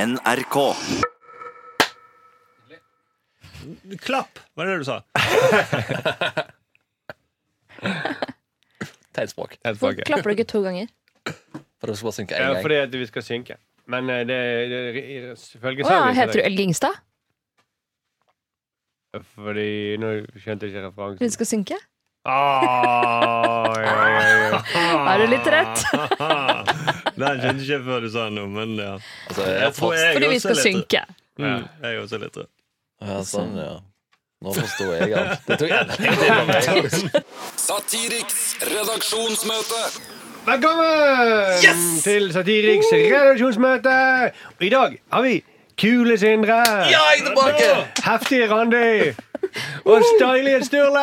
NRK. Klapp, var det det du sa? Tegnspråk. Hvorfor klapper du ikke to ganger? For det skal bare synke Ja, én gang. fordi at vi skal synke. Men eh, det, det, det Å følger ja, sangen. heter du Elge Ingstad? Fordi nå skjønte jeg ikke referansen. Fordi du skal synke? Ah, ja, ja, ja. Er du litt rett? Den skjønte ikke jeg før du sa noe, men ja. Altså, Jeg tror jeg Fordi også Mm. vi er skal litt- synke. Ja, jeg er også litt rett. Ja, sånn, ja. Nå forsto jeg alt. Det tok enda litt tid for meg. Satiriks redaksjonsmøte. Velkommen til Satiriks redaksjonsmøte! Og i dag har vi Kule Sindre, Ja, jeg er tilbake! heftige Randi og stylige Sturle.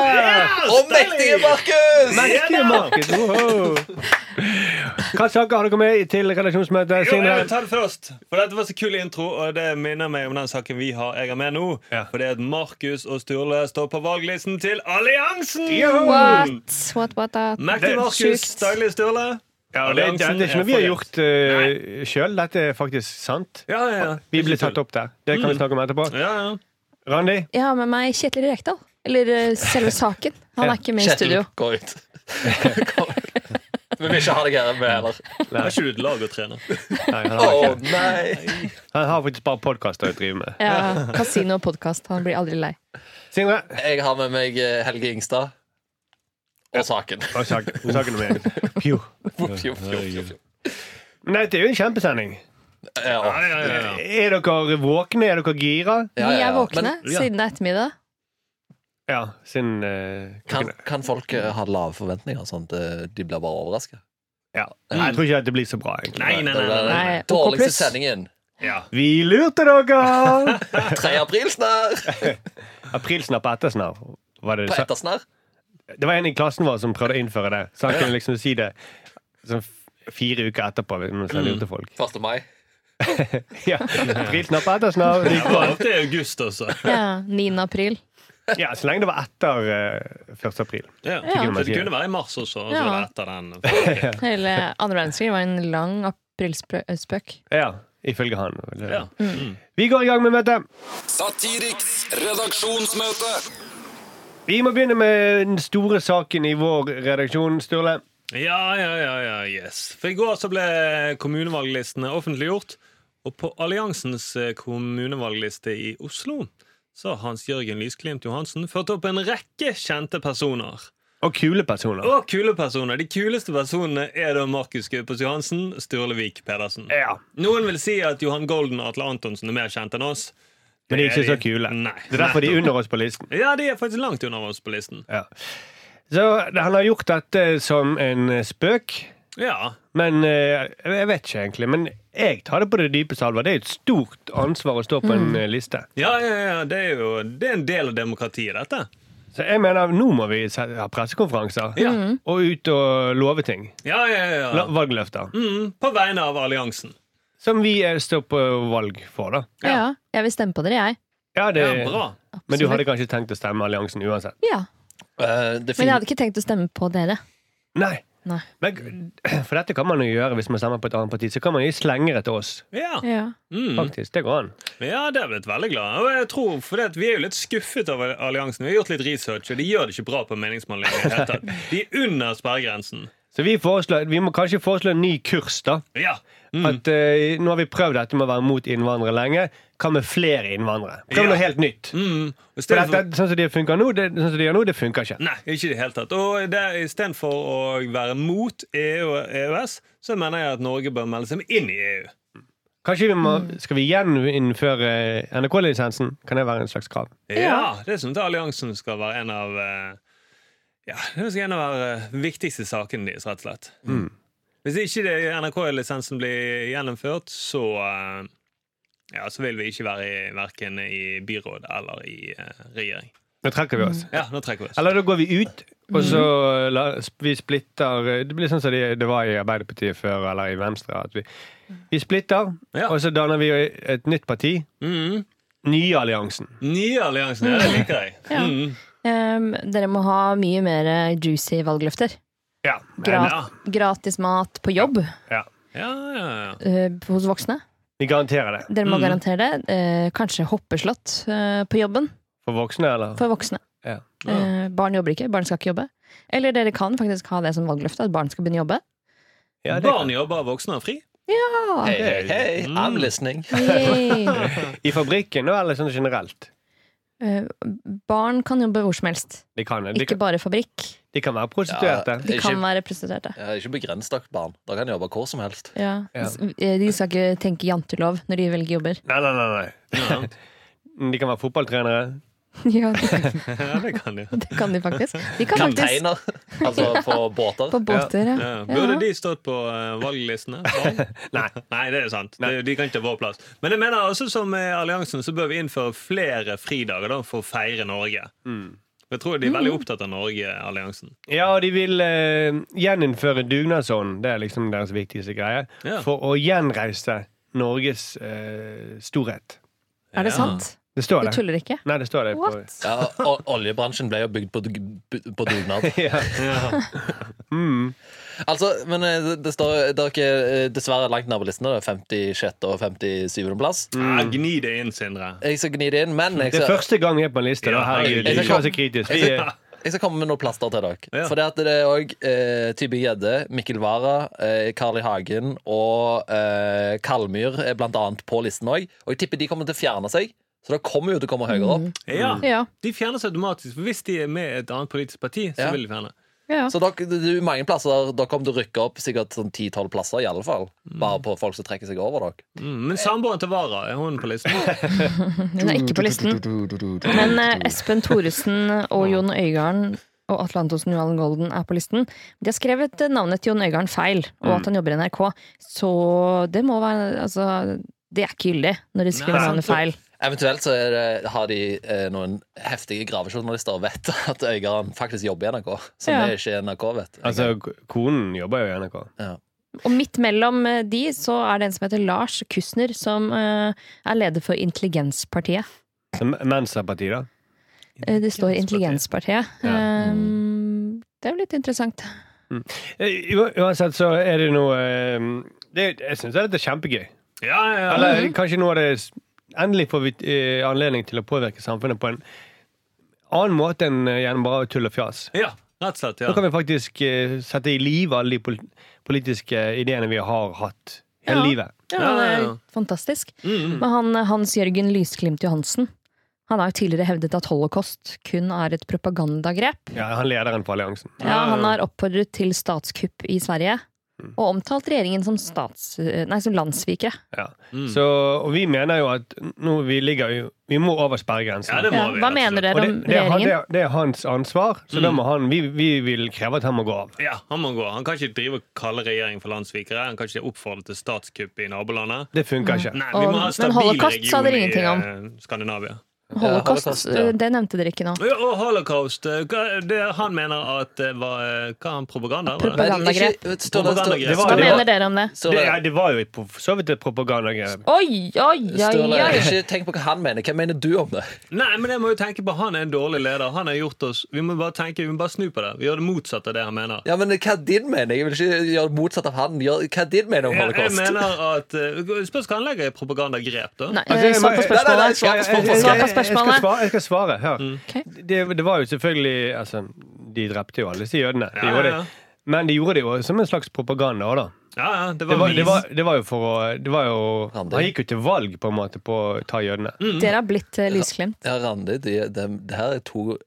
Og mektige Markus! Mektige Markus. Wow. Hva saker har dere med til redaksjonsmøtet? Jo, jeg vil Sindre? ta det først. For Dette var så kul intro, og det minner meg om den saken vi har, jeg har med nå. Ja. For det er at Markus og Sturle står på valglisten til alliansen! Joho! What? What, what, what? Mektig Det er Markus, sjukt. deilig Sturle. Ja, det, det, det er ikke noe vi har gjort uh, sjøl. Dette er faktisk sant. Ja, ja, ja. Vi ble tatt opp der. Det Mm. kan vi snakke om etterpå. Ja, ja. Randi? Jeg har med meg Kjetil Rekdal. Eller eh, selve saken. Han er ikke med i Kjetil, studio. gå ut. Gå ut. Vi vil ikke ha deg her med heller. Har ikke du et lag å trene? Nei, han Å har, ikke. nei! han har faktisk bare podkaster å drive med. Ja, Kasino og podkast. Han blir aldri lei. Sindre? Jeg har med meg eh, Helge Ingstad. Og saken. Og sak, saken om meg. Pju. Fjo, fjo, fjo, fjo. Men dette er jo en kjempesending. Ja, Ja, ja, ja. Er dere våkne? Er dere gira? ja, Vi ja, er ja. våkne ja. siden det er ettermiddag. Ja, siden eh, Kan, klokken- kan folk eh, ha lave forventninger, sånn at eh, de blir bare overraska? ja. Nei, Jeg tror ikke at det blir så bra, egentlig. Nei, nei, nei. nei, nei. Nei, OK Dårligste pluss. sendingen. Vi lurte dere! 3. april snart! Aprilsnapp og ettersnapp. Var det, På sa- ettersnarr. det var en i klassen vår som prøvde å innføre det. Så han kunne liksom si det sånn f- fire uker etterpå. Mens han lurte folk. 1. mai. Ja, Aprilsnapp og ettersnapp. Det Det gikk var bra. alltid i august, altså. Ja, 9. april. Ja, så lenge det var etter eh, 1. april. Ja. Ja. Så Det kunne være i mars også. Og så Ja. var det etter den. Hele andre verdenskrig var en lang aprilspøk. Ja, ifølge han. Det- Ja. Vi går i gang med møtet. Satiriks redaksjonsmøte. Vi må begynne med den store saken i vår redaksjon, Sturle. Ja, ja, ja, ja, yes. For I går så ble kommunevalglistene offentliggjort. Og på Alliansens eh, kommunevalgliste i Oslo så har Hans-Jørgen Lysklimt Johansen ført opp en rekke kjente personer. Og kule personer. Og kule personer. De kuleste personene er da Markus Gaupås Johansen, Sturlevik Pedersen. Ja, Noen vil si at Johan Golden og Atle Antonsen er mer kjent enn oss. Men de er ikke Det er så de. kule. Nei, Det er derfor de er under oss på listen. Ja, de er faktisk langt unna oss på listen. Ja. Så han har gjort dette som en eh, spøk. Ja, Men eh, jeg vet ikke egentlig. Men jeg tar det på det dypeste alvor. Det er et stort ansvar å stå på Mm. en eh, liste. ja, ja, ja det er jo det er en del av demokratiet, dette. Så jeg mener, nå må vi se- ha pressekonferanser. Ja. Mm. Og ut og love ting. Ja, ja, ja, ja. La- Valgløfter. Mm, på vegne av alliansen. Som vi eh, står på valg for, da. Ja, jeg vil stemme på dere, jeg. Ja, det, Ja, bra. men du hadde kanskje tenkt å stemme alliansen uansett? Ja, Eh, det Men jeg fin- hadde ikke tenkt å stemme på dere. Nei. Nei. Men, for dette kan man jo gjøre hvis man stemmer på et annet parti. Så kan man gi slengere til oss. Ja, Ja. mm. Faktisk, det går an. ja det er jeg blitt veldig glad Og jeg tror, for det at Vi er jo litt skuffet over alliansen. Vi har gjort litt research, og de gjør det ikke bra på meningsmålingene. i det hele tatt. De er under sperregrensen. Så vi, foreslår, vi må kanskje foreslå en ny kurs, da. Ja. Mm. At eh, Nå har vi prøvd dette med å være mot innvandrere lenge. Hva med flere innvandrere? Prøv Ja. noe helt nytt. Mm. Og i For stedet dette, sånn som de funker nå, det, sånn som de gjør nå, det funker ikke. Nei, ikke i det hele tatt. Og det- Istedenfor å være mot EU og EØS, så mener jeg at Norge bør melde seg inn i E EU. Kanskje vi må, Mm. Skal vi gjeninnføre NRK-lisensen? Kan det være en slags krav? Ja, Det synes jeg alliansen skal være en av eh, Ja, det skal en av være viktigste sakene deres, rett og slett. Hvis ikke det- NRK-lisensen blir gjennomført, så eh, ja, så vil vi ikke være i, verken i byråd eller i eh, regjering. Nå trekker vi oss. Ja, nå trekker vi oss. Eller da går vi ut, og så la, vi splitter Det blir sånn som det, det var i Arbeiderpartiet før, eller i Venstre. At vi, vi splitter, Ja. og så danner vi et nytt parti. Mm. Nye alliansen. Nye alliansen, ja, det liker jeg. Ja. Mm. Ehm, dere må ha mye mer eh, juicy valgløfter. Ja. Gra Ja. Gratis mat på jobb ja. Ja, ja, ja. eh, hos voksne. Vi garanterer det. Dere må Mm. garantere det. Eh, kanskje hoppeslott eh, på jobben For voksne, eller? for voksne. Ja. Eh, barn jobber ikke. Barn skal ikke jobbe. Eller dere kan faktisk ha det som valgløfte, at barn skal begynne å jobbe. Ja, det Barn jobber, voksne har fri. Ah, Hei, hei, hei, Mm. I'm listening. yay. I fabrikken, da, eller sånn generelt? Eh, barn kan jobbe hvor som helst. De kan, de, Ikke kan, bare fabrikk. de kan være prostituerte. De kan Ikke- være prostituerte. Ja, ikke begrens dere barn. Dere kan jobbe hvor som helst. Ja. Ja. S- eh, De skal ikke tenke jantelov når de velger jobber. Nei, nei, nei, Ja, nei. De kan være fotballtrenere. Ja, det ja det kan de. det kan de faktisk. De kan faktisk Kapteiner. Altså på båter. på båter. Ja. Ja. Burde de stått på eh, valglistene? Nei. Nei, det er sant. De, de kan ikke ta vår plass. Men jeg mener også som med alliansen så bør vi innføre flere fridager da, for å feire Norge. Jeg tror de er Mm. veldig opptatt av Norge-alliansen. Ja, og de vil eh, gjeninnføre dugnadsånden. Det er liksom deres viktigste greie. Ja. For å gjenreise Norges eh, storhet. Er det Ja. sant? Det Du står det. tuller ikke? Nei, det står det. På, What? Ja, og oljebransjen ble jo bygd på, dug- på dugnad. ja. Altså, men eh, det, det står dere er eh, dessverre langt ned på listene. da. 56. og 57. plass. Ja, gni det inn, Sindre. Jeg skal gni det inn, men jeg Det er skal, første gang jeg er på en liste. Da. Ja, Herregud, jeg- ikke vær så kritisk. Vi, er- jeg skal komme med noen plaster til dere. Ja. For det at det er òg eh, Tybing-Gjedde, Mikkel Wara, eh, Carl I. Hagen og eh, Kalmyr er blant annet på listen òg. Og jeg tipper de kommer til å fjerne seg, så det kommer jo til å komme høyere Mm. opp. Ja, Ja. Mm. De fjernes automatisk. for Hvis de er med i et annet politisk parti, så Ja. vil de fjerne. ja. Så dere, det er jo mange plasser dere kommer til å rykke opp sikkert sånn 10-12 plasser, i alle fall. Mm. Bare på folk som trekker seg over dere. Mm. Men samboeren til Vara, er hun på listen? Hun er ikke på listen. Men eh, Espen Thoresen og Jon Øigarden og Atle Antonsen Johan Golden er på listen. De har skrevet eh, navnet til Jon Øigarden feil, og at han jobber i NRK. Så det må være Altså, det er ikke gyldig når de skriver Nei, navnet sant. feil. Eventuelt så er det, har de eh, noen heftige gravejournalister og vet at Øygarden faktisk jobber i NRK. Som Ja. er ikke NRK, vet du. altså, k- konen jobber jo i NRK. Og midt mellom eh, de så er det en som heter Lars Kusner, som eh, er leder for Intelligenspartiet. Så M- Mensa-partiet, da. Eh, Det står Intelligenspartiet. Ja. Um, Det er jo litt interessant. Eh, u- Uansett så er det noe eh, det, Jeg syns dette er kjempegøy. Ja, ja, ja. Eller kanskje nå er det s- Endelig får vi eh, anledning til å påvirke samfunnet på en annen måte enn eh, gjennom bare tull og fjas. ja rett og slett. Nå Ja. kan vi faktisk eh, sette i live alle de pol politiske ideene vi har hatt hele Ja. livet. Ja, Ja, ja, det er ja. fantastisk. Mm. Men han Hans Jørgen Lysklimt Johansen Han har jo tidligere hevdet at holocaust kun er et propagandagrep. Ja, han lederen for alliansen. Ja, han har oppfordret til statskupp i Sverige. Og omtalt regjeringen som, stats, nei, som landssvikere. Ja. Mm. Så, og vi mener jo at nå vi ligger jo Vi må over Ja, sperregrensen. det må Ja, vi. rett hva og mener slett. og dere det, om det, er han, det, regjeringen? er- det er hans ansvar, så Mm. da må han vi, vi vil kreve at han må gå av. Ja, Han må gå. Han kan ikke drive og kalle regjeringen for landssvikere. Han kan ikke oppfordre til statskupp i nabolandet. Det Mm. funker ikke. Nei, vi Og- må ha en men stabil holocaust sa region dere i ingenting om. eh, Skandinavia. Holocaust, Holocaust, ja. det nevnte dere ikke nå. Ja, Og holocaust eh, hva- det, Han mener at det var eh, Hva er han propaganda? var det? Propa- Propagandagrep. Ikke- står det- står- Propagandagrep. står Hva det var- mener dere om det? står Det, det- ja, det var jo et pro- for så vidt et propagandagrep. Oi, oi, oi, står det- oi! Ikke tenk på hva han mener. Hva mener du om det? Nei, men jeg må jo tenke på Han er en dårlig leder. Han har gjort oss Vi må bare tenke, vi må bare snu på det. Vi gjør det motsatte av det han mener. Ja, men Hva er din mening? Jeg vil ikke gjøre motsatt av han. Gjør, hva er din mening om Ja, jeg holocaust? mener at eh, Spørs hva han legger i propagandagrep, da. Nei, eh, Altså, jeg må- svar på Nei, nei, nei, spørsmålet. svar- Jeg- jeg- Svar på spørsmålet. jeg- jeg- jeg skal svare- Jeg skal svare. Hør. Mm. Ok. Det, det var jo selvfølgelig altså, De drepte jo alle disse jødene. De Ja, ja, gjorde ja. det. Men de gjorde det jo som en slags propaganda. også, Da. Ja, ja, det Det, var, var, vis. det, var, det var jo for å det var jo, Randi. Han gikk jo til valg på en måte på å ta jødene. Dere har blitt eh, lysglimt. Ja, Randi, de, de, det her er to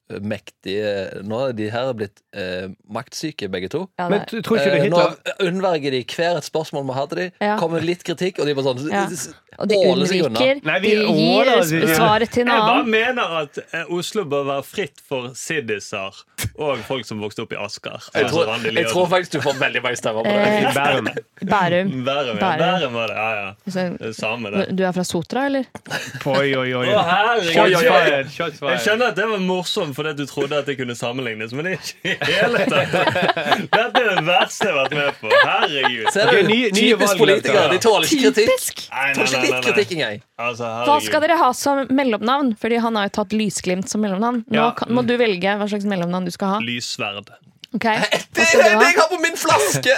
mektige Nå er de her blitt eh, maktsyke, begge to. Ja, Men det- t- tror ikke du Eh, Hitler Nå unnverger de hver et spørsmål vi har til dem. Ja. Kommer litt kritikk, og de bare sånn Ja. s- Og de åler seg unna. unnviker. Nei, De vi gir åler oss eh, ikke. svaret til en Jeg bare annen. mener at eh, Oslo bør være fritt for siddiser og folk som vokste opp i Asker. Jeg tror, Altså Randi jeg tror Lioden. faktisk du får veldig mange stemmer på det. Eh, Bærum? Bærum. Bærum, ja. Bærum. Bærum var det. Ja, ja. Det samme, det. Du er fra Sotra, eller? Oi, oi, oi. Å, herregud. Shots fired, Jeg shots fired. skjønner at det var morsomt fordi at du trodde at det kunne sammenlignes, men det er ikke i hele tatt. Dette er det verste jeg har vært med på. Herregud. Ser Ok, du? nye- nye Typisk valgløfter. politikere. De tåler ikke kritikk. Nei, nei, Tåler ikke nei, litt nei, nei. kritikk engang. Altså, Hva skal herregud. dere ha som mellomnavn? Fordi han har jo tatt Lysglimt som mellomnavn. Nå Ja. kan, må du velge hva slags mellomnavn du skal ha. Lyssverd. Ok, Det hva er skal det du ha? jeg har på min flaske!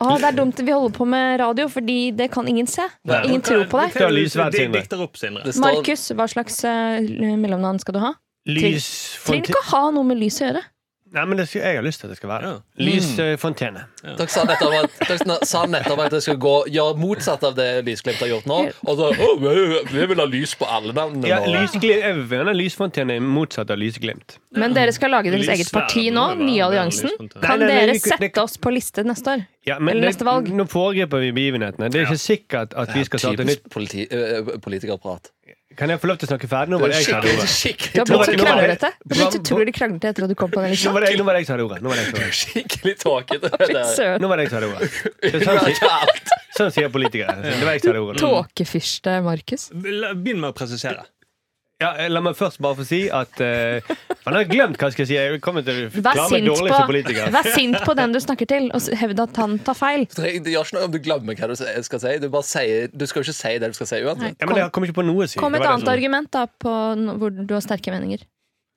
Å, det er dumt vi holder på med radio, fordi det kan ingen se. Ingen tror på deg. Du har lysverd, De Sindre. Dikter opp, Sindre. Det står- Markus, hva slags eh, mellomnavn skal du ha? Trenger ikke å ha noe med lys å gjøre. Nei, men det skal, jeg har lyst til at det skal være eh, Ja. det. Lysfontene. Dere sa nettopp at, dere sna- sa nettopp at jeg skulle gå, gjøre motsatt av det Lysglimt har gjort nå. Og så, «Å, vi- Vi vil ha lys på alle navnene. Ja, nå.» lysglimt, jeg vil gjerne ha lysfontene motsatt av lysglimt. Men dere skal lage deres Lysverd eget parti nå, må det liksom. være, Nye det er alliansen. lysfontene. Kan Nei, nei, nei, dere vi kunne- det- sette oss på liste neste år? Ja, men Eller det- neste valg. Nå foregriper vi begivenhetene. Det er ikke sikkert at vi skal starte nytt Typisk politi, ø, politikerprat. Kan jeg få lov til å snakke ferdig? Nå var det jeg som hadde Skikkelig, ordet. Du skikkelig, har blitt så Nå var det- kranglete. Du har blitt utrolig kranglete etter at du kom på den Nå lista. var det jeg- nå var det jeg som hadde ordet. Nå var det jeg som hadde ordet. skikkelig tåkete. Fy søren. Nå var det jeg som hadde ordet. Det er Sånn, sier- Alt. sånn sier politikere. Det var jeg som hadde ordet. Tåkefyrste Markus. La- Begynn med å presisere. Ja, eh, la meg først bare få si at eh, Man har glemt hva jeg skal si. Jeg kommer til å Vær forklare meg sint, dårlig som på, politiker. vær sint på den du snakker til, og s- hevd at han tar feil. Det gjør ikke noe om du glemmer hva du s- skal si. Du, bare sier, du skal jo ikke si det du skal si uansett. Ja, men jeg kom ikke på noe å si. Kom Det med var et annet det som- argument da på no- hvor du har sterke meninger.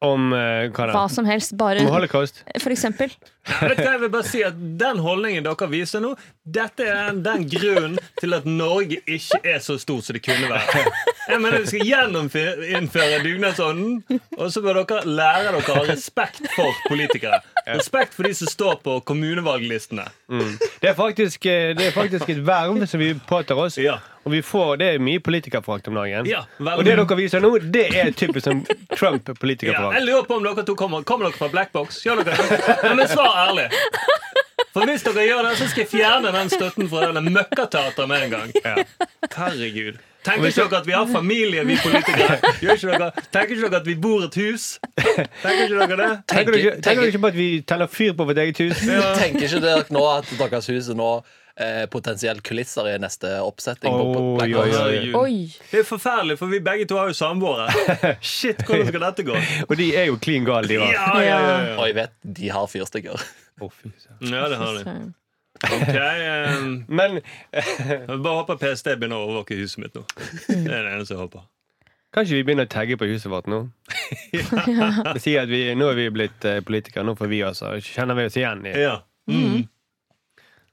Om eh, hva da? Hva som helst. Bare Om holocaust? for eksempel. Vet du hva, jeg vil bare si at Den holdningen dere viser nå, dette er den, den grunnen til at Norge ikke er så stort som det kunne være. Jeg mener Vi skal gjeninnføre dugnadsånden, og så bør dere lære dere å ha respekt for politikere. Respekt for de som står på kommunevalglistene. Mm. Det er, faktisk, eh, det er faktisk et verv som vi påtar oss. Ja. Og vi får, det er mye politikerforakt om dagen. Ja, veldig. og det dere viser nå, det er typisk som Ja, jeg Trump-politikerforakt. lurer på om dere to kommer Kommer dere fra Blackbox? Gjør dere det? Ja, men svar ærlig. For hvis dere gjør det, så skal jeg fjerne den støtten fra denne møkkateateret med en gang. Herregud. Tenker ikke dere at vi har familie, vi politikere? Gjør ikke dere, tenker ikke dere at vi bor i et hus? Tenker ikke dere det? Tenker, du ikke- Tenker- tenker du ikke på at vi teller fyr på vårt eget hus? Tenker ikke dere nå at deres hus er nå eh, potensielt kulisser i neste oppsetting? på- på Oi, Black oi, Lives oi. Matter? Herregud. Oi! Det er forferdelig, for vi begge to har jo samboere. Shit, hvordan skal dette gå? Og de er jo klin gale, de òg. Ja, ja, ja, ja. Og jeg vet de har fyrstikker. ja det har de. søren. Ok, ehm, Men jeg bare håper PST begynner å overvåke huset mitt nå. Det er det eneste jeg håper. kan ikke vi begynne å tagge på huset vårt nå? Si at vi, nå er vi blitt eh, politikere, nå får vi altså Kjenner vi oss igjen i Ja. Mm.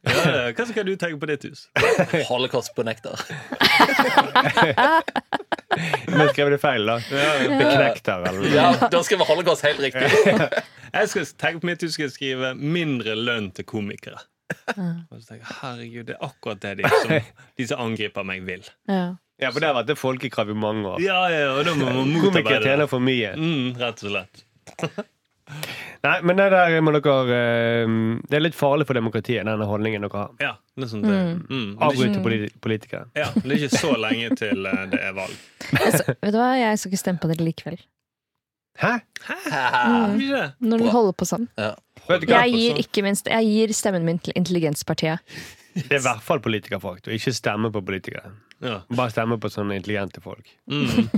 Ja, ja. Hva skal du tenke på ditt hus? Holocaust på nektar. Men skrev det feil, da? Beknekter, eller noe. Ja, da skal vi holocaust helt riktig. Jeg skal tenke på mitt hus skal jeg skrive 'mindre lønn til komikere'. Og så tenker jeg, Herregud, det er akkurat det de som, de som angriper meg, vil. Ja. Ja, for det har vært et folkekrav i mange år. Ja, ja, og da må man Komikere motarbeide tjener det. for mye. Mm, rett og slett. Nei, men det der må dere eh, Det er litt farlig for demokratiet, denne holdningen dere har. Ja, noe sånt. det. Mm. Men det er ikke- Avbryte politi politikere. Ja, det er ikke så lenge til eh, det er valg. Altså, vet du hva, jeg skal ikke stemme på dere likevel. Hæ? Er det ikke det? Når Bra. dere holder på sånn. Vet du hva? Jeg gir, ikke minst, jeg gir stemmen min til Intelligenspartiet. Det er i hvert fall politikerforakt. Og ikke stemme på politikere. Ja. Bare stemme på sånne intelligente folk. Mm.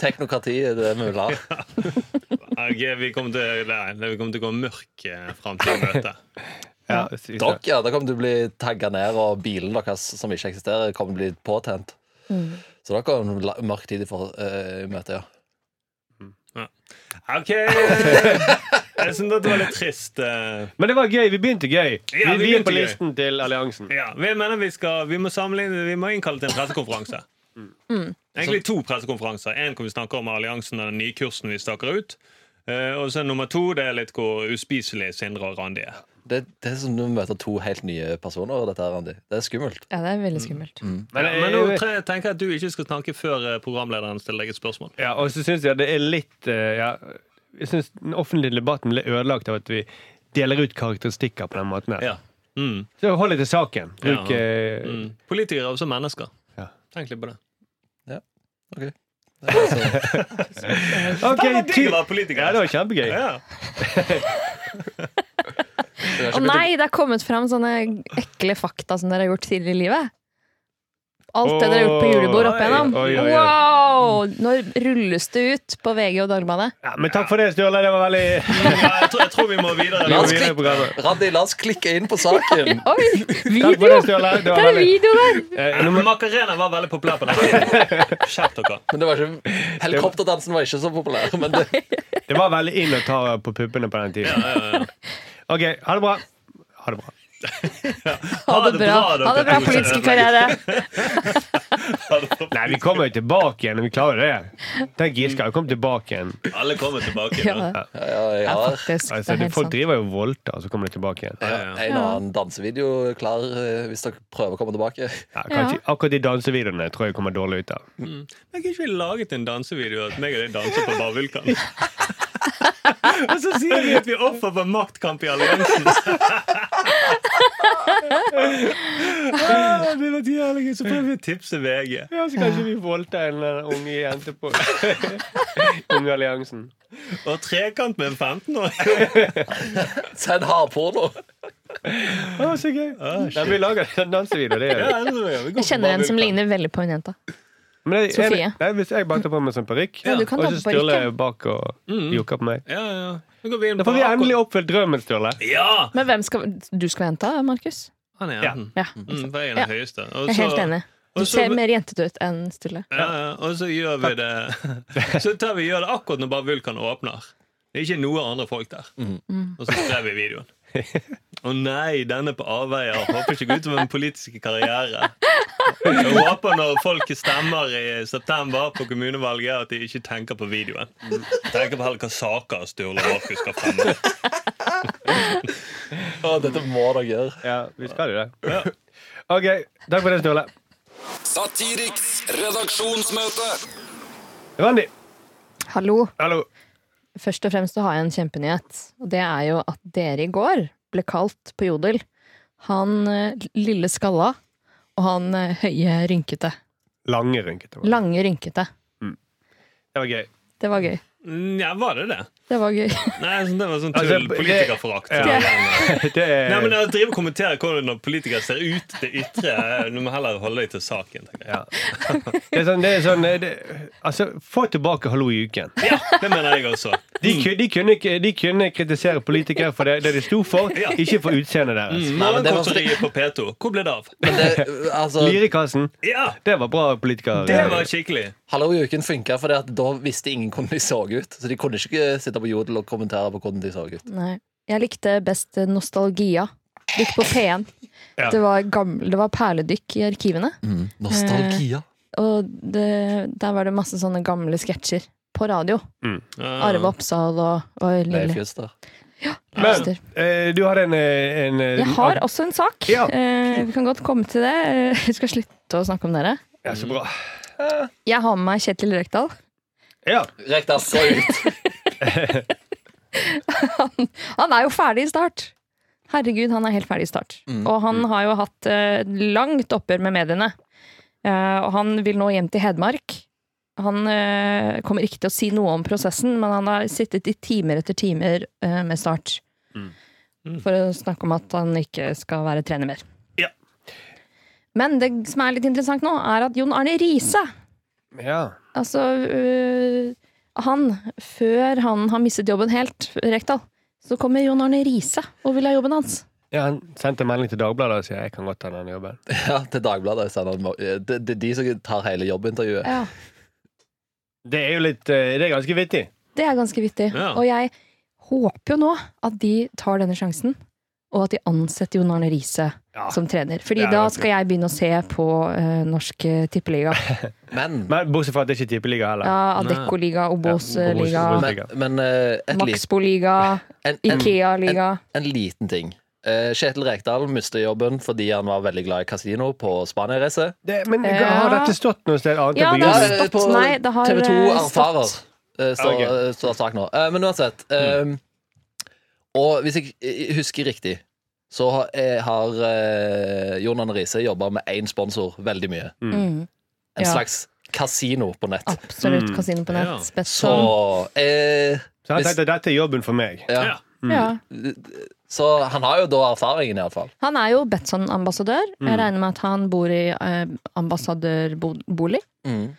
Teknokrati er det mulig har. Ok, vi kommer til, nei, vi kommer til å gå mørk eh, framtid i møte. Ja, synes Dere, jeg. ja, da kommer til å bli tagga ned, og bilen deres som ikke eksisterer, kommer til å bli påtent. Så dere har en la- mørk tid i for, eh, i møte, ja. Ok! Jeg syns dette var litt trist. eh, Men det var gøy. Vi begynte gøy. Ja, vi vi, vi er begynte på gøy. listen til alliansen. Ja, vi mener vi, skal, vi, må sammenligne- vi må innkalle til en pressekonferanse. Egentlig to pressekonferanser. En hvor vi snakker om alliansen og den nye kursen vi staker ut. Eh, og så nummer to det er litt hvor uspiselig Sindre og Randi er. Det, det er som du møter to helt nye personer. Dette her, Randi. Det er skummelt. Ja, det er veldig skummelt. Men, eh, Men nå jeg- tre- tenker jeg at du ikke skal snakke før eh, programlederen stiller deg et spørsmål. ja, og så syns jeg det er litt eh, ja, Jeg syns den offentlige debatten ble ødelagt av at vi deler ut karakteristikker på den måten. her Ja. Mm. Så hold deg til saken. Bruk Ja. eh, Mm. Politikere er også mennesker. Ja. Tenk litt på det. Ok. Det er altså- OK, ty- var Ja, politiker! det var Ja. kjempegøy. jeg har Å ikke begynt nei, det er kommet fram sånne ekle fakta som dere har gjort tidligere i livet. Alt det dere har gjort på julebord opp igjennom. Oi, oi, oi. Wow! Nå rulles det ut på VG og Dagbladet. Ja, men takk for det, Sturle. Det var veldig Jeg, tror, jeg tror vi må videre. La oss Vi er i klikke, programmet. Randi, la oss klikke inn på saken. Oi! Takk for Video! det, Sturle. Det Det var er veldig... video der! Eh, nå må- Macarena var veldig populær på den tiden. Skjerp dere. Men det var ikke, helikopterdansen var ikke så populær. Men det, Det var veldig inn å ta på puppene på den tiden. OK, ha det bra. Ha det bra. Ha det bra, ha det bra politiske karriere. Nei, vi kommer jo tilbake igjen. Vi klarer det. Tenk Giske har jo kommet tilbake igjen. Alle kommer tilbake. Ja, nå. Ja, ja, jeg ja, har faktisk. Det sånn. Altså, er det, helt folk sant. driver jo og voldtar, og så kommer de tilbake igjen. Ja, ja. en og annen dansevideo klar eh, hvis dere prøver å komme tilbake. Ja, kanskje, Akkurat de dansevideoene tror jeg kommer dårlig ut av. Men kunne ikke vi laget en dansevideo at meg og deg danser på bare vulkan? og så sier vi at vi er offer for maktkamp i alliansen. Ah, det var jævlig gøy. Så prøver vi å tipse VG. Ja, så kanskje vi voldtar en eller annen unge jente på Unge alliansen. Og trekant med en 15-åring. Send hardporno! Å, så gøy! Ah, Nei, vi lager en dansevideo. Det gjør vi. Jeg kjenner en som ligner veldig på en jente. Men jeg, Sofie. jeg- Nei, hvis jeg bare tar på meg sånn parykk, Ja, du kan og ta så på Sturle parykken. bak og Mm. jokker på meg Ja, ja. Nå går vi inn Da får vi Akko- endelig oppfylt drømmen, Sturle. Ja! Men hvem skal du skal være jenta, Markus? Han er Ja. enten. Ja, Mm, for jeg er Ja. den høyeste. Og jeg er så- helt enig. Du og så- ser mer jentete ut enn Sturle. Ja, ja, og så gjør vi det Så tar vi gjør det akkurat når bare vulkan åpner. Det er ikke noe andre folk der. Og så skrev vi videoen. Å nei, denne på avveier. Håper ikke ut som en politisk karriere. Jeg håper når folk stemmer i september på kommunevalget, at de ikke tenker på videoen. Tenker på heller hva saker Sturle Markus skal fremme. Å, dette må dere gjøre. Ja, vi skal jo det. OK. Takk for det, Sturle. Satiriks redaksjonsmøte. Randi. Hallo. Hallo. Først og fremst så har jeg en kjempenyhet. Og det er jo at dere i går ble kalt på Jodel han eh, lille skalla og han eh, høye rynkete. Lange rynkete. Det Lange rynkete. var gøy. Det var gøy. Ja, var det det? Det var gøy. Nei, det var sånn Altså, tull. det- Politikerforakt. Ja. Det er Nei, men altså- Å drive og kommentere hvordan når politikere ser ut det ytre eh, Du må heller holde deg til saken. tenker jeg. ja. Det er sånn, det er sånn det, Altså, få tilbake Hallo i uken. Ja, Det mener jeg også. De, ku- de, kunne, ikke- de kunne kritisere politikere for det, det de sto for, ikke for utseendet deres. Mm. Nei, men det var- Morgenkontoriet på P2. Hvor ble det av? Men det, altså, Lirekassen. Ja, Det var bra politikere. Det var skikkelig. Hallo i uken funka, for da visste ingen hvordan de så ut. Så de kunne ikke eh, sitte på jodel og kommentere på hvordan de så ut. Nei. Jeg likte best Nostalgia. Gikk på P1. Ja. Det, var gamle, det var perledykk i arkivene. Nostalgia. Og det, der var det masse sånne gamle sketsjer på radio. Arve Oppsal og, og Leif Lille Juster. Men Øster. eh, du hadde en, eh, en eh, Jeg har også en sak. Ja. Eh, vi kan godt komme til det. Eh, Jeg skal slutte å snakke om dere. Ja, så bra. Jeg har med meg Kjetil Røkdal. Ja. Rekdal så ut. Han er jo ferdig i start! Herregud, han er helt ferdig i start. Og han har jo hatt eh, langt oppgjør med mediene. Eh, og han vil nå hjem til Hedmark. Han eh, kommer ikke til å si noe om prosessen, men han har sittet i timer etter timer eh, med Start. For å snakke om at han ikke skal være trener mer. Ja. Men det som er litt interessant nå, er at Jon Arne Riise ja. Altså, øh, han, før han har mistet jobben helt, Rekdal, så kommer Jon Arne Riise og vil ha jobben hans. Ja, Han sendte en melding til Dagbladet og sier jeg kan godt ta den jobben. Ja, til Dagbladet. sa han. Det det er de som tar hele jobbintervjuet. Ja, Det er jo litt eh, Det er ganske vittig. det er ganske vittig. Ja. Og jeg håper jo nå at de tar denne sjansen, og at de ansetter Jon Arne Riise Ja. som trener. Fordi Det er da jo skal jeg begynne å se på øh, norsk øh, tippeliga. Men, Men bortsett fra at det ikke er tippeliga heller. Ja, Adeccoliga, Obos-liga, Obos- men, men eh, et lit, Maxbo-liga, en, en, Ikea-liga. en liten ting. Eh, Kjetil Rekdal mistet jobben fordi han var veldig glad i kasino på Spania-reise. Eh, Det, men Ja. har dette stått noe sted annet Ja, enn på det har jorden? det. stått. på Nei, det har, TV 2 eh, erfarer, stått. eh, står Ja, okay. sak nå. Eh, Men uansett. eh, Og hvis jeg eh, husker riktig, så har, eh, har eh, Jon Arne Riise jobba med én sponsor veldig mye. Mm. En Ja. slags kasino på nett. Absolutt Mm. kasino på Ja. nett. sånn. Så Spetson. eh, Så han Hvis- tenkte dette er jobben for meg. Mm. ja. Ja. Ja. Så han har jo da erfaringen, iallfall. Han er jo Betson-ambassadør. Jeg regner med at han bor i eh, ambassadørbolig. Mm.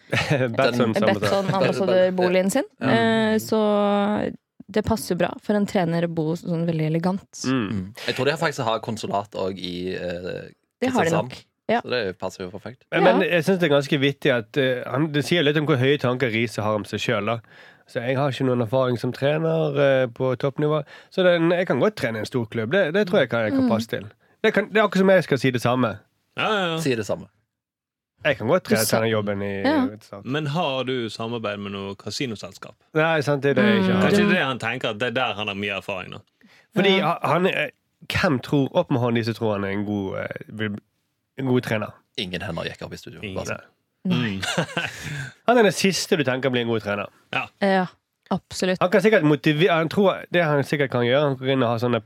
Batson sammensatt. Betson-ambassadørboligen sin. Mm. Eh, så det passer jo bra for en trener å bo sånn veldig elegant. Mm. Jeg tror de faktisk har konsulat òg i eh, Det har de Kristiansand. nok. Ja. Så det passer jo perfekt. Men, Ja. men jeg synes det er ganske vittig at eh, han, Det sier litt om hvor høye tanker Riise har om seg sjøl. Så jeg har ikke noen erfaring som trener eh, på toppnivå. Så den, jeg kan godt trene i en stor klubb. Det, det tror jeg kan, Mm. jeg kan passe til. Det, kan, det er akkurat som jeg skal si det samme. Ja, ja, ja. Sier det samme. Jeg kan godt Du trene sa- trenerjobben i Ja. Start. Men har du samarbeid med noe kasinoselskap? Nei, sant, det er det jeg Mm. ikke har. Kanskje det er det han tenker at det er der han har mye erfaring. nå Fordi ha- han er- Hvem tror Opp med hånden de som tror han er en god, eh, vil- en god trener. Ingen hender gikk opp i studio. Ingen. Bare sånn. Mm. Han er den siste du tenker blir en god trener. Ja, absolutt. Han kan sikkert motivere Han tror det han sikkert kan gjøre, han kan gå inn og ha sånne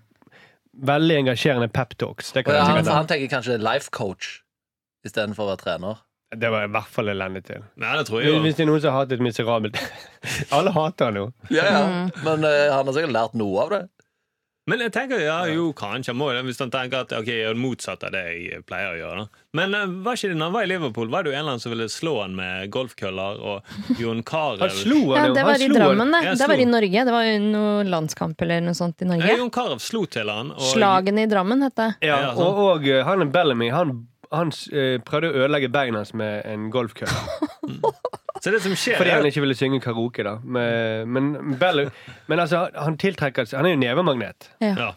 veldig engasjerende peptalks. Det, kan Ja, han han, sikkert ha. han tenker kanskje life coach istedenfor å være trener. det var i hvert fall elendig til. Nei, det tror jeg jo. Hvis det er noen som har hatt et miserabelt Alle hater han jo. Ja, ja. Mm. Men eh, han har sikkert lært noe av det. Men jeg tenker, ja, jo, kanskje han må det, hvis han tenker at ok, jeg gjør det motsatte av det jeg pleier å gjøre. da. Men eh, var ikke det når han var i Liverpool, var det jo en eller annen som ville slå han med golfkøller, og Jon Carew Han slo han Ja, jo. det Han var i slo han. Drammen, det. Jeg Det var slo- i Norge. Det var jo noe landskamp eller noe sånt i Ja, Norge. Jon Carew slo til han, og Slagene i Drammen, het det. Ja, Ja, sånn. og, og eh, han er Bellamy. Han, han eh, prøvde å ødelegge beina hans med en golfkølle. så det som skjer Fordi er han ikke ville synge karaoke, da. Men, men, Bellamy, men altså, han tiltrekker seg Han er jo nevemagnet. ja.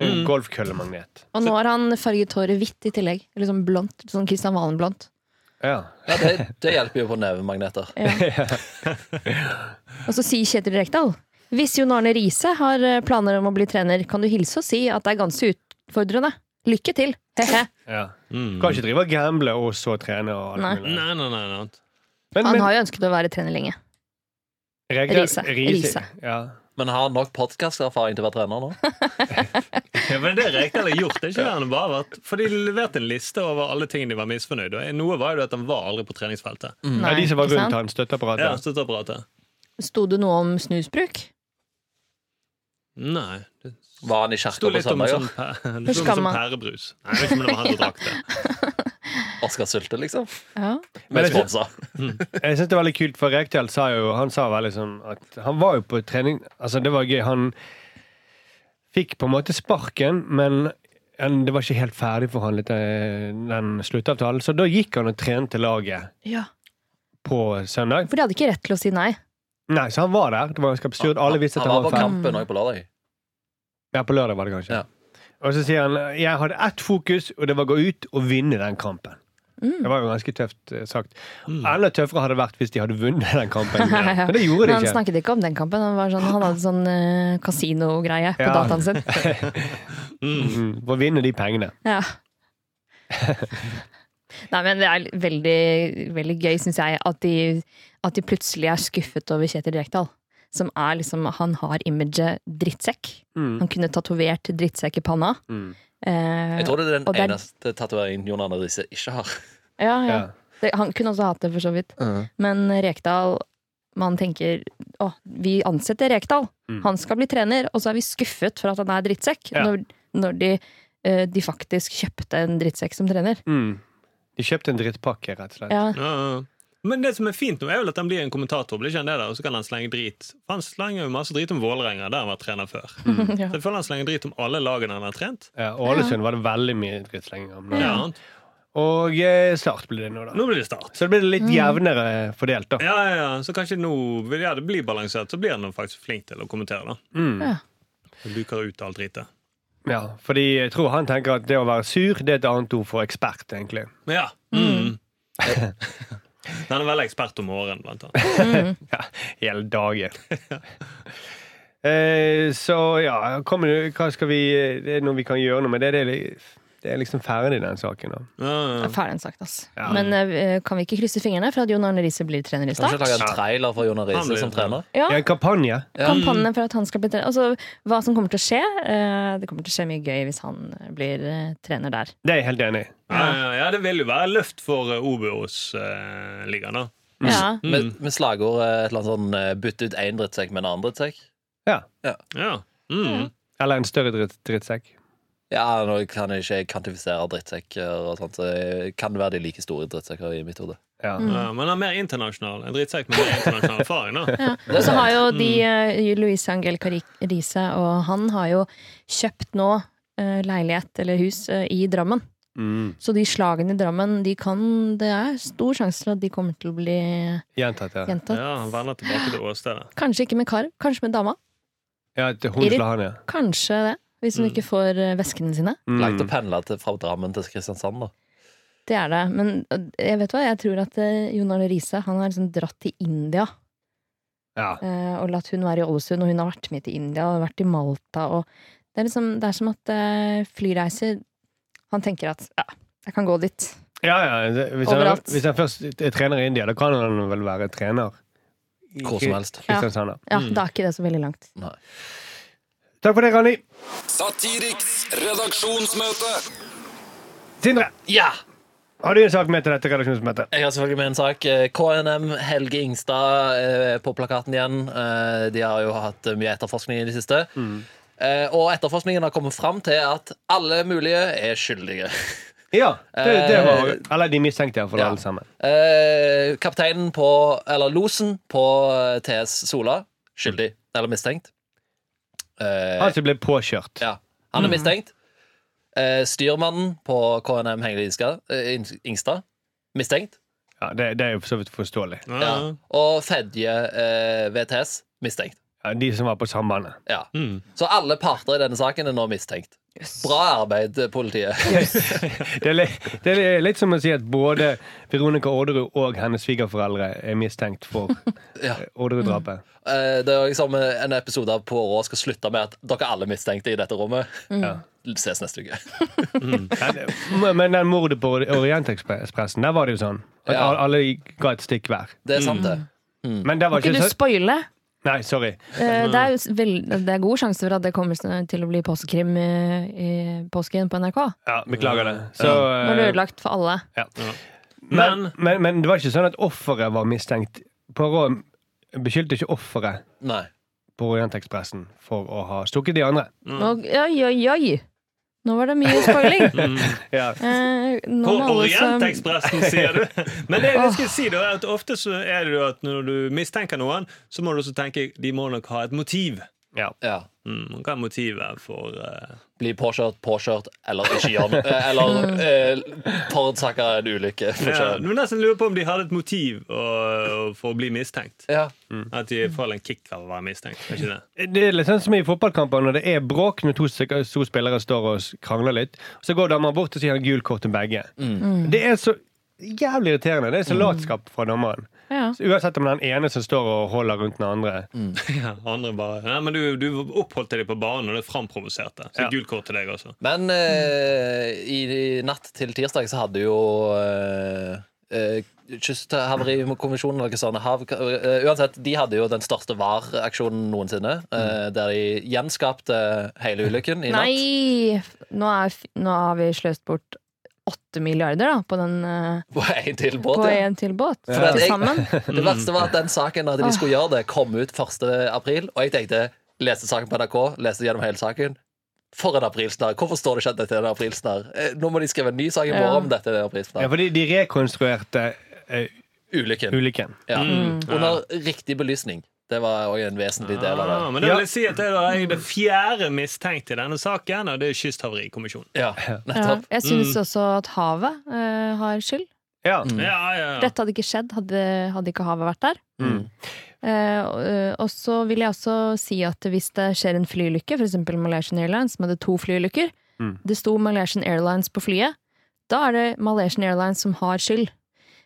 Mm. En golfkøllemagnet. Og nå har han farget håret hvitt i tillegg. Eller sånn blondt. Sånn Kristian Valen-blondt. Ja. Ja, det, det hjelper jo på nevemagneter. Og så sier Kjetil Rekdal Hvis Jon Arne Riise har eh, planer om å bli trener, kan du hilse og si at det er ganske utfordrende. Lykke til! He-he. ja. Mm. Kan ikke drive og gamble og så trene og Nei. alt mulig. Nei, nei, nei. nei. Men, Han men- har jo ønsket å være trener lenge. Regler- Riise. Riise. Riise. Ja. Men har han nok podkasterfaring til å være trener nå? Ja, men det Rekdal har gjort, det er ikke det han har bare vært. For de leverte en liste over alle ting de var misfornøyd med. Noe var jo at han var aldri på treningsfeltet. Ja, de som var ikke rundt sant? han, støtteapparatet. Ja, støtteapparatet. Sto det noe om snusbruk? Nei. Det Var han i sto kirka på litt om sånn, søndager? pæ- det sto om sånn Skamma. pærebrus. Nei, jeg vet ikke om det var han som drakk det. Oscar Sylte, liksom? Ja. Men Med jeg- sponsa. Jeg synes det var litt kult, for Rekdal sa jo Han sa veldig sånn at han var jo på trening Altså, det var gøy. Han fikk på en måte sparken, men han- det var ikke helt ferdigforhandlet, eh, den sluttavtalen. Så da gikk han og trente laget ja. på søndag. For de hadde ikke rett til å si nei. Nei, så han var der. Det var ganske absurd. Alle visste at Han var på ferdig. Kampen òg på lørdag. Ja, på lørdag var det kanskje. Ja. Og så sier han jeg hadde ett fokus, og det var å gå ut og vinne den kampen. Mm. Det var jo ganske tøft eh, sagt. Mm. Enda tøffere hadde det vært hvis de hadde vunnet den kampen. Ja. Men det gjorde Men de han ikke. snakket ikke om den kampen. Han, var sånn, han hadde sånn eh, kasinogreie på Ja. dataen sin. Mm, For å vinne de pengene. Ja. Nei, men det er veldig, veldig gøy, syns jeg, at de, at de plutselig er skuffet over Kjetil Rekdal. Som er liksom Han har imaget drittsekk. Han kunne tatovert drittsekk i panna. Eh, Jeg tror det er den Og det er- eneste tatoveringen Jon Arne Riise ikke har. ja, ja. Ja. Det, han kunne også hatt det, for så vidt. Mm. Men Rekdal Man tenker å, vi ansetter Rekdal. Han skal bli trener, og så er vi skuffet for at han er drittsekk. Ja. Når, når de, eh, de faktisk kjøpte en drittsekk som trener. Mm. De kjøpte en drittpakke, rett og slett. Ja, Ja. ja, ja. Men det som er fint nå, er vel at han blir en kommentator, blir ikke han det da? og så kan han slenge drit. For Han slenger jo masse drit om Vålerenga, der han var trener før. Ja. Så jeg føler han slenger drit om alle lagene han har trent. Ja, og Ålesund var det veldig mye drittslenging om. nå. Ja. sant? Og eh, Start ble det nå, da. Nå blir det start. Så det ble Mm. litt jevnere fordelt, da. Ja, ja, ja. Så kanskje nå vil ja, det bli balansert, så blir han jo faktisk flink til å kommentere. da. Ja. Han Luker ut alt dritet. Ja, fordi jeg tror han tenker at det å være sur, det er et annet ord for ekspert, egentlig. Men ja. Mm. han er veldig ekspert om åren, blant annet. Ja, hele dagen. eh, så ja, kommer det, hva skal vi eh, Det er noe vi kan gjøre noe med. Det, det, er, li- det er liksom ferdig, den saken. Da. Ja, ja. Ferdig sagt, ass. Ja. Men eh, kan vi ikke krysse fingrene for at Jon Arne Riise blir trener i Kan vi ikke Start? lage en trailer for Jon Arne Han blir Riise som trener? Ja, Det er en kampanje. Kampanjen for at han skal bli trener. Altså, hva som kommer til å skje. eh, det kommer til å skje mye gøy hvis han blir eh, trener der. Det er jeg helt enig i. Ja, ja, ja, det vil jo være løft for eh, Obos-ligaen, da. Ja. Med, med slagord eh, et eller annet sånn eh, 'bytte ut én drittsekk med en annen drittsekk'? Ja. Ja. Mm. Eller en større dritt, drittsekk. Ja, nå kan jeg ikke kvantifisere drittsekker og sånt, så jeg kan være de like store drittsekker i mitt hode. Ja. Ja, men han er mer internasjonal. En drittsekk med mer internasjonal erfaring, da. Og så har jo de Mm. eh, Louise Angelica Ri- Riise og han har jo kjøpt nå eh, leilighet eller hus eh, i Drammen. Mm. Så de slagene i Drammen, de kan, det er stor sjanse for at de kommer til å bli Gjentatt, ja. gjentatt. Ja, Han vender tilbake til åstedet. Kanskje ikke med Kar, kanskje med dama. ja at hun Irit- slår han, ja. Kanskje det, hvis Mm. hun ikke får eh, veskene sine. Langt å pendle til, fra Drammen til Kristiansand, da. Det er det. Men eh, jeg vet hva, jeg tror at eh, Jon Arne Riise han har liksom dratt til India Ja. eh, og latt hun være i Ålesund. Og hun har vært med til India og vært i Malta. Og det, er liksom, det er som at eh, flyreiser Han tenker at ja, jeg kan gå dit. Ja, ja. det- Hvis han, Overalt. hvis han først er trener i India, da kan han vel være trener i Hvor som helst. Kristiansand. da. Ja, Da er ikke det så veldig langt. Nei. Takk for det, Ronny. Satiriks redaksjonsmøte. Sindre, Ja! har du en sak med til dette redaksjonsmøtet? Jeg har selvfølgelig med en sak. Eh, KNM, Helge Ingstad eh, på plakaten igjen. Eh, De har jo hatt eh, mye etterforskning i det siste. Eh, Og etterforskningen har kommet fram til at alle mulige er skyldige. Ja, det, det Eh, var Eller de mistenkte iallfall Ja. alle sammen. Eh, kapteinen på Eller losen på eh, TS Sola. Skyldig. Eller mistenkt. Eh, Han som ble påkjørt. ja. Han er mistenkt. Eh, styrmannen på KNM Hengel Ingstad, eh, Ing- Ingstad. Mistenkt. Ja, det, det er jo for så vidt forståelig. Ja. Ja. Og Fedje eh, VTS. Mistenkt. Ja, de som var på sambandet. Ja. Mm. Så alle parter i denne saken er nå mistenkt. Bra arbeid, eh, politiet. Det er, litt, det er litt som å si at både Veronica Orderud og hennes svigerforeldre er mistenkt for Ja. eh, Orderud-drapet. Eh, det er liksom eh, en episode av Poirot skal slutte med at dere alle er mistenkte i dette rommet. Ja. Ses neste uke. Men- Men den mordet på Orientekspressen, der var det jo sånn. At Ja. Mm. al- alle ga et stikk hver. Det er sant, det. Men der var Kan ikke ikke du så spoile? Nei, sorry. Eh, Det er, jo vel- det er god sjanse for at det kommer sn- til å bli påskekrim eh, i påsken på NRK. Ja, beklager det. Så, Nå er det eh, ødelagt for alle. ja. Men- men, men, men det var ikke sånn at offeret var mistenkt. Poirot beskyldte ikke offeret Nei. på Orientekspressen for å ha stukket de andre. Nå, oi, oi, oi! Nå var det mye spoiling. Ja. Eh, nå På må alle som- Orientekspressen, sier du! Men det jeg skal si da, er at ofte så er det jo at når du mistenker noen, så må du også tenke de må nok ha et motiv. Ja. Ja. Mm, hva er motivet for eh, bli påkjørt, påkjørt eller ikke gjøre noe. eh, Eller eh, forårsake en ulykke. for ja, sjøen. Du må nesten lure på om de hadde et motiv å- for å bli mistenkt. Ja. At de får en kick av å være mistenkt. Er ikke det? Det er litt sånn som i fotballkamper når det er bråk når to, stykker- to spillere står og krangler litt. Så går dommeren bort og sier gul kort til begge. Mm. Det er så jævlig irriterende. Det er så latskap fra dommeren. Ja. Så uansett om det er den ene som står og holder rundt den andre. Ja, andre bare Nei, men du, du oppholdt deg på banen, og det framprovoserte. Så Ja. gult kort til deg også. Men eh, i, i natt til tirsdag så hadde jo eh, eh, Kysthavarikommisjonen eller hva sånn, hav, eh, Uansett, de hadde jo den største VAR-aksjonen noensinne. eh, der de gjenskapte hele ulykken i natt. Nei! Nå, er, f- nå har vi sløst bort åtte milliarder da, på, den, eh, På en til på båt. ja. en til båt. For at Til jeg- sammen. Det verste var at den saken at de skulle gjøre det, kom ut 1. april, og jeg tenkte leste saken på NRK, leste gjennom hele saken. For en aprilsnarr! Hvorfor står det ikke at dette er en aprilsnarr? Eh, Nå må de skrive en ny sak i morgen Ja. om dette er en Ja, aprilsnarr. fordi de rekonstruerte eh, Ulykken. ulykken. Ja. Mm. Under riktig belysning. Det var òg en vesentlig del av det. Ah, men det vil Ja. jeg si at det er jeg det fjerde mistenkte i denne saken, og det er Kysthavarikommisjonen. Ja, Ja. nettopp. Jeg syns også at havet eh, har skyld. Ja, Ja. ja, ja. Dette hadde ikke skjedd hadde, hadde ikke havet vært der. Mm. Eh, og- eh, og så vil jeg også si at hvis det skjer en flyulykke, f.eks. Malaysian Airlines, som hadde to flyulykker Mm. Det sto Malaysian Airlines på flyet. Da er det Malaysian Airlines som har skyld.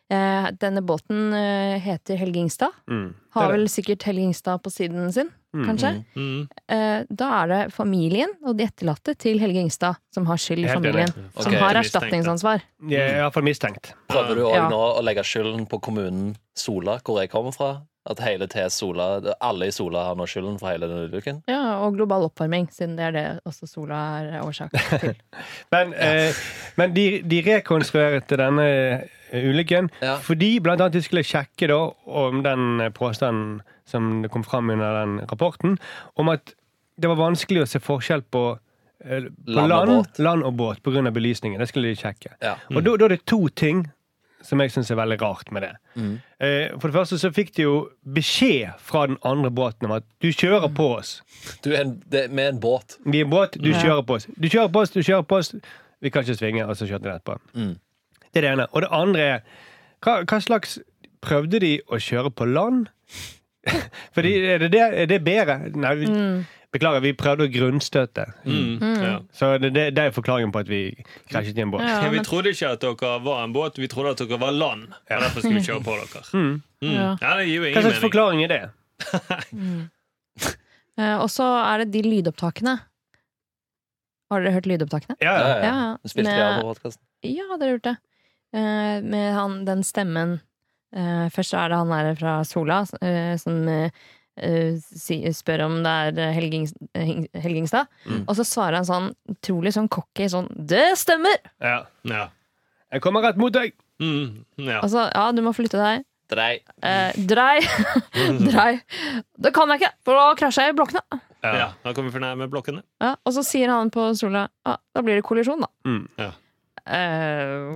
Eh, denne båten eh, heter Helge Ingstad. Mm. Har Det er vel det. Mm-hmm. sikkert Helge Ingstad på siden sin, kanskje. Mm. Eh, da er det familien og de etterlatte til Helge Ingstad som har skyld i Helt familien. enig. Som Ok, mistenkt, har ja. erstatningsansvar. Jeg er iallfall mistenkt. Prøver du òg Ja. nå å legge skylden på kommunen Sola, hvor jeg kommer fra? At hele TS Sola, alle i Sola har nå skylden for hele denne ulykken? Ja, og global oppvarming, siden det er det også sola er årsak til. Men, eh, men de, de rekonstruerte denne eh, ulykken Ja. fordi blant annet de skulle sjekke da, om den eh, påstanden som det kom fram under den rapporten, om at det var vanskelig å se forskjell på, eh, på Land og land, båt. land og båt pga. belysningen. Det skulle de sjekke. Ja. Og da, da er det to ting som jeg syns er veldig rart med det. Mm. Eh, for det første så fikk de jo beskjed fra den andre båten om at du kjører på oss. Du er en, det, med en båt. Vi er en båt, du kjører på oss. Du kjører på oss, du kjører på oss. Vi kan ikke svinge, og så kjørte de rett på. Mm. Det er det ene. Og det andre er hva, hva slags Prøvde de å kjøre på land? Fordi er det, det, er det bedre? Nei, vi, beklager, vi prøvde å grunnstøte. sånn. Mm. Ja. Så det, det, det er forklaringen på at vi krasjet i en båt. Ja, Vi men- trodde ikke at dere var en båt, vi trodde at dere var land. Og derfor skulle vi kjøre på dere. Mm. Ja. Ja. det gir jo Hva ingen slags mening. forklaring er det? Mm. Eh, Og så er det de lydopptakene. Har dere hørt lydopptakene? Ja, Ja, ja. ja, ja. Ja, Nå Spilte vi av på podcasten. Ja, dere har gjort det. Eh, Med han, den stemmen Eh, Først så er det han der fra Sola eh, som eh, eh, si, spør om det er Helgings, Heng- Helgingstad. Mm. Og så svarer han sånn utrolig sånn cocky sånn 'Det stemmer!' ja. Ja. Jeg kommer rett mot deg! Mm. Ja. Altså, ja, du må flytte deg. Drei. Eh, drei. drei. Det kan jeg ikke, for da krasjer jeg i blokkene. ja. Da kommer vi for nærme blokkene. Ja, og så sier han på sola ah, da blir det kollisjon, da. Mm. Ja. Eh,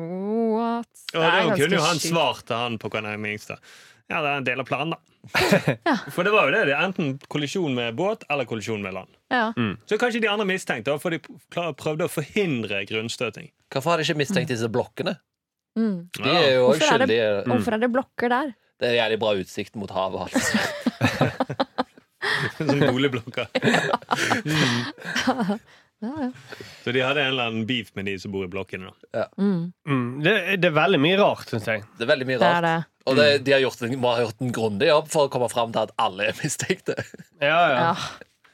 what? Og da kunne jo han sjukt. svart til han på Kanin Mingstad. Ja, det er en del av planen, da. Ja. For det var jo det. det er Enten kollisjon med båt eller kollisjon med land. Ja. Så kanskje de andre mistenkte, da, for de klar- prøvde å forhindre grunnstøting. Hvorfor har de ikke mistenkt disse blokkene? Mm. De er jo også Hvorfor er det- skyldige. Hvorfor er det blokker der? Det er jævlig bra utsikt mot havet. Altså. Sånn Som boligblokker. Ja, ja. Så de hadde en eller annen beef med de som bor i blokkene. da. Mm. Mm. Det, det er veldig mye rart, syns jeg. Det er veldig mye Det er rart. det. Og det, de har gjort en, må ha gjort en grundig jobb for å komme fram til at alle er mistenkte. Ja, ja. Ja.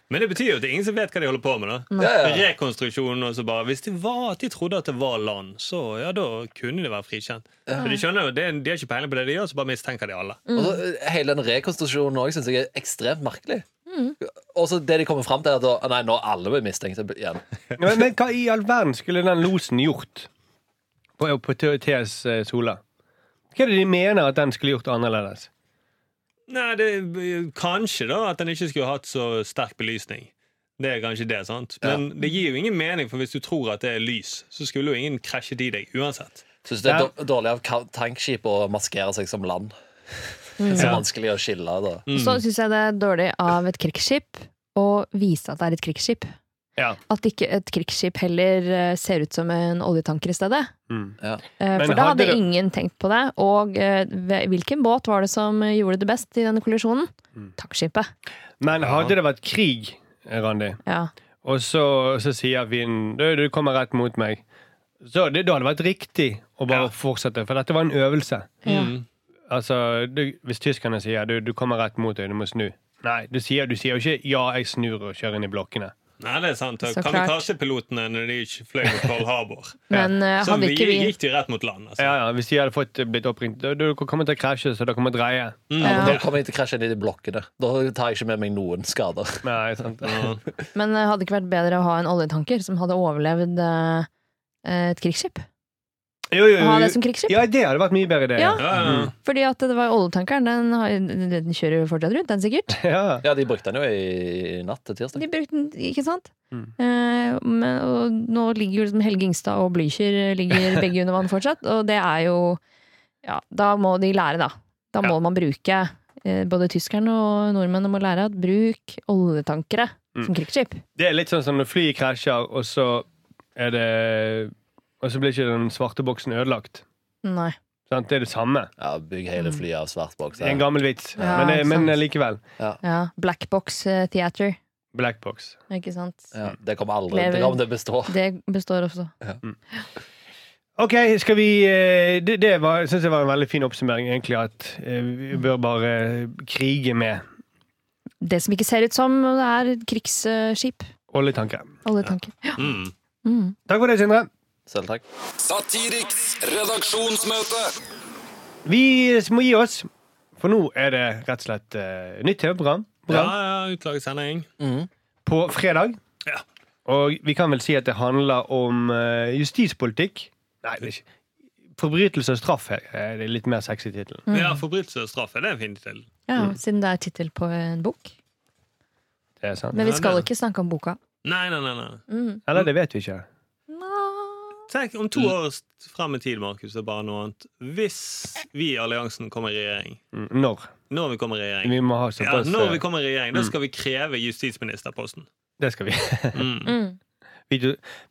Men det betyr jo at det er ingen som vet hva de holder på med. da. Ja, ja. Rekonstruksjonen og så bare Hvis det var at de trodde at det var land, så ja, da kunne de være frikjent. For de skjønner jo, det, De har ikke peiling på det de gjør, så bare mistenker de alle. Mm. Og så, eh, hele den rekonstruksjonen også synes jeg er ekstremt merkelig. Mm. Og så det de kommer fram til, er at da- ah, nei, nå er alle mistenkte igjen. Men, men hva i all verden skulle den losen gjort på, på TS eh, Sola? Hva er det de mener at den skulle gjort annerledes? Nei, det, Kanskje da at den ikke skulle hatt så sterk belysning. Det er kanskje det, sant? Men det gir jo ingen mening, for hvis du tror at det er lys, så skulle jo ingen krasjet i deg uansett. Syns det er Ja. dår- dårlig av ka- tankskip å maskere seg som land. Mm. Det er så Ja. vanskelig å skille. Da. Mm. Og Så syns jeg det er dårlig av et krigsskip å vise at det er et krigsskip. Ja. At ikke et krigsskip heller eh, ser ut som en oljetanker i stedet. Ja. Eh, Mm. Men For da hadde hadde det- ingen tenkt på det. Og eh, ve- hvilken båt var det som eh, gjorde det best i denne kollisjonen? Mm. Tankskipet. Men hadde det vært krig, Randi, Ja. og så, så sier vinden du, du kommer rett mot meg, så det, da hadde det vært riktig å bare Ja. fortsette, for dette var en øvelse. Ja. Altså, du, Hvis tyskerne sier du, du kommer rett mot deg, du må snu. Nei, du sier du sier jo ikke 'ja, jeg snur og kjører inn i blokkene'. Nei, det er sant. Så klart. Kamikaze-pilotene når de ikke fløy mot Pearl Harbor. Men eh, Så hadde vi, ikke vi gikk de rett mot land. Altså. Ja, ja, Hvis de hadde fått blitt oppringt du, 'Du kommer til å krasje, så dere må dreie'. Mm. Ja, men Ja. Da kommer jeg til å krasje inn i de blokkene. Da tar jeg ikke med meg noen skader. Nei, sant? Men eh, hadde det ikke vært bedre å ha en oljetanker som hadde overlevd eh, et krigsskip? Jo, jo, Å ha det som krigsskip? Uh, Ja, det hadde vært mye bedre idé. Ja. Ja, ja, ja. Fordi at det var oljetankeren, den, har- den kjører jo fortsatt rundt, den sikkert. Ja. Ja, De brukte den jo i natt til tirsdag. De brukte den, ikke sant? Mm. Eh, men, og nå ligger jo liksom Helge Ingstad og Blücher eh, ligger begge under vann fortsatt, og det er jo Ja, da må de lære, da. Da må man bruke eh, Både tyskerne og nordmennene må lære at bruk oljetankere som krigsskip. Det er litt sånn som når flyet krasjer, og så er det Og så blir ikke den svarte boksen ødelagt. Nei. Sant? Det er det samme. Ja, Bygg hele flyet av svart boks. Det er en Ja. gammel vits, Ja, men, det, ikke sant. men likevel. Ja, Black Box eh, Theater, Black box. ikke sant? Ja, det kommer aldri Lever- Det kommer til å bestå. Det består også. OK, skal vi eh, Det, det var, synes jeg var en veldig fin oppsummering, egentlig, at eh, vi bør bare krige med Det som ikke ser ut som, det er krigsskip. oljetanker. Oljetanker. Mm. Mm. Takk for det, Sindre. Selv takk. Satiriks redaksjonsmøte. Vi må gi oss, for nå er det rett og slett eh, nytt TV-program. Ja, program ja, utlagssending. På fredag. Ja. Og vi kan vel si at det handler om eh, justispolitikk. Nei, det er ikke Forbrytelse og straff er er det litt mer sexy tittel. Mm. Ja, forbrytelse og straff er det en fin tittel. Ja, siden det er tittel på en bok. Det er sant. Men vi skal det- ikke snakke om boka. Nei, nei, nei. nei. Eller det vet vi ikke. Tenk om to år frem i tid, Markus, det er bare noe annet. Hvis vi i alliansen kommer i regjering Mm, Når. Når vi kommer i regjering. Vi må ha Ja, såpass når eh, vi kommer i regjering, da skal vi kreve justisministerposten. Det skal vi. Mm. Mm. Vi,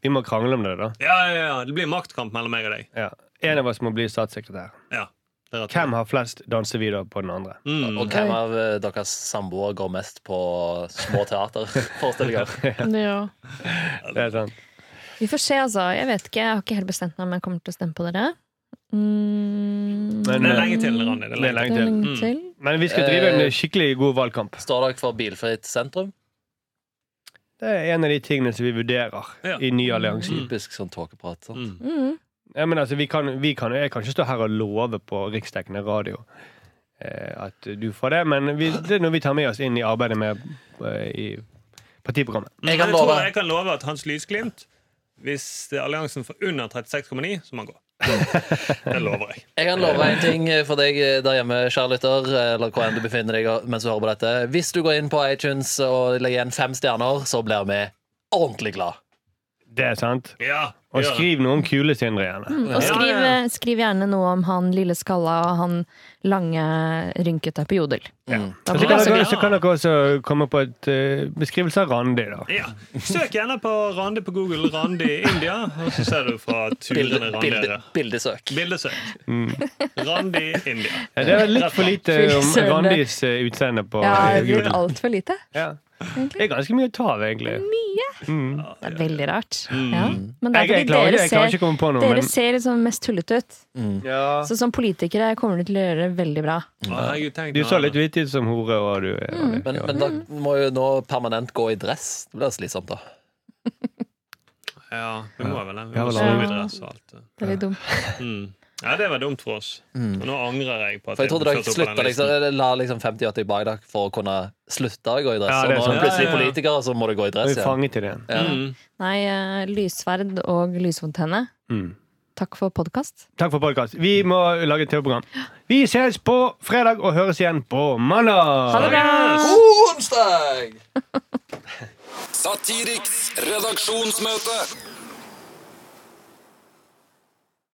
vi må krangle om det, da. Ja, ja, ja. Det blir maktkamp mellom meg og deg. Ja. En av oss må bli statssekretær. Ja, det er rett. Hvem har flest dansevideoer på den andre? Mm. Og hvem av eh, deres samboere går mest på små teaterforestillinger? Ja. Det er sant. Vi får se, altså. Jeg vet ikke, jeg har ikke helt bestemt meg om jeg kommer til å stemme på dere. Mm, Men, Det er eh, lenge til, Ronny. Det er det er lenge. lenge det er til. lenge til. Men vi skal drive en skikkelig god valgkamp. Står dere for bilfritt sentrum? Det er en av de tingene som vi vurderer Ja. i ny allianse. Typisk sånn tåkeprat. sant? Mm. Mm. Ja, men altså, vi kan, vi kan, jeg kan ikke stå her og love på riksdekkende radio eh, at du får det, men vi, det er noe vi tar med oss inn i arbeidet med eh, i partiprogrammet. Jeg kan Men tror love- jeg kan love at Hans Lysglimt Hvis det er alliansen får under 36,9, så må han gå. Det lover jeg. Jeg kan love en ting eh, for deg der hjemme, kjære lytter, eh, eller hvor enn du befinner deg mens du hører på dette. Hvis du går inn på iTunes og legger igjen fem stjerner, så blir vi ordentlig glad. Det er sant. Ja, Og gjør det. skriv noe om kule Sindre gjerne. Og skriv, eh, skriv gjerne noe om han lille skalla og han lange, rynkete på jodel. Da Og blir så det kan, også dere, gøy. så kan dere også komme på et eh, beskrivelse av Randi, da. Ja. Søk gjerne på Randi på Google, Randi India, og så ser du fra turene Bilde, Randi er bilde, der. bildesøk. Bildesøk. Randi India. Eh, Det er litt for lite Fy om søren. Randis eh, utseende på Ja, det eh, er blitt Google. altfor lite. Ja. Det er ganske mye å ta av, egentlig. Det er veldig rart. Ja. Men det er fordi Mm. Jeg, jeg, klarer, ikke- dere jeg klarer ser, ikke å komme på noe, dere men ser liksom mest tullete ut. ja. Så som politikere kommer dere til å gjøre det veldig bra. Å, herregud, tenk Du nå. så litt vittig ut som hore, og du eh, Mm. Randi. Men, men da må jo nå permanent gå i dress. Det blir slitsomt, da. Ja, vi må vel det. Vi Ja, må vel, sove i ja. dress og alt. det. Det er litt dumt. Mm. Ja, det var dumt for oss. Og nå angrer jeg på at For jeg trodde dere ble satt opp på slutta den liksom, listen. la liksom 50-80 bak dere for å kunne slutte å gå i dress. Ja, det er og nå er sant. dere plutselig Ja, ja, ja. politikere, så må dere gå i Og dress vi igjen. fanget i det. Ja. Mm. Nei, eh, lyssverd og lysfontene. Mm. Takk for podkast. Takk for podkast. Vi må lage et TV-program. Vi ses på fredag og høres igjen på mandag! Ha det bra! God onsdag! Satiriks redaksjonsmøte.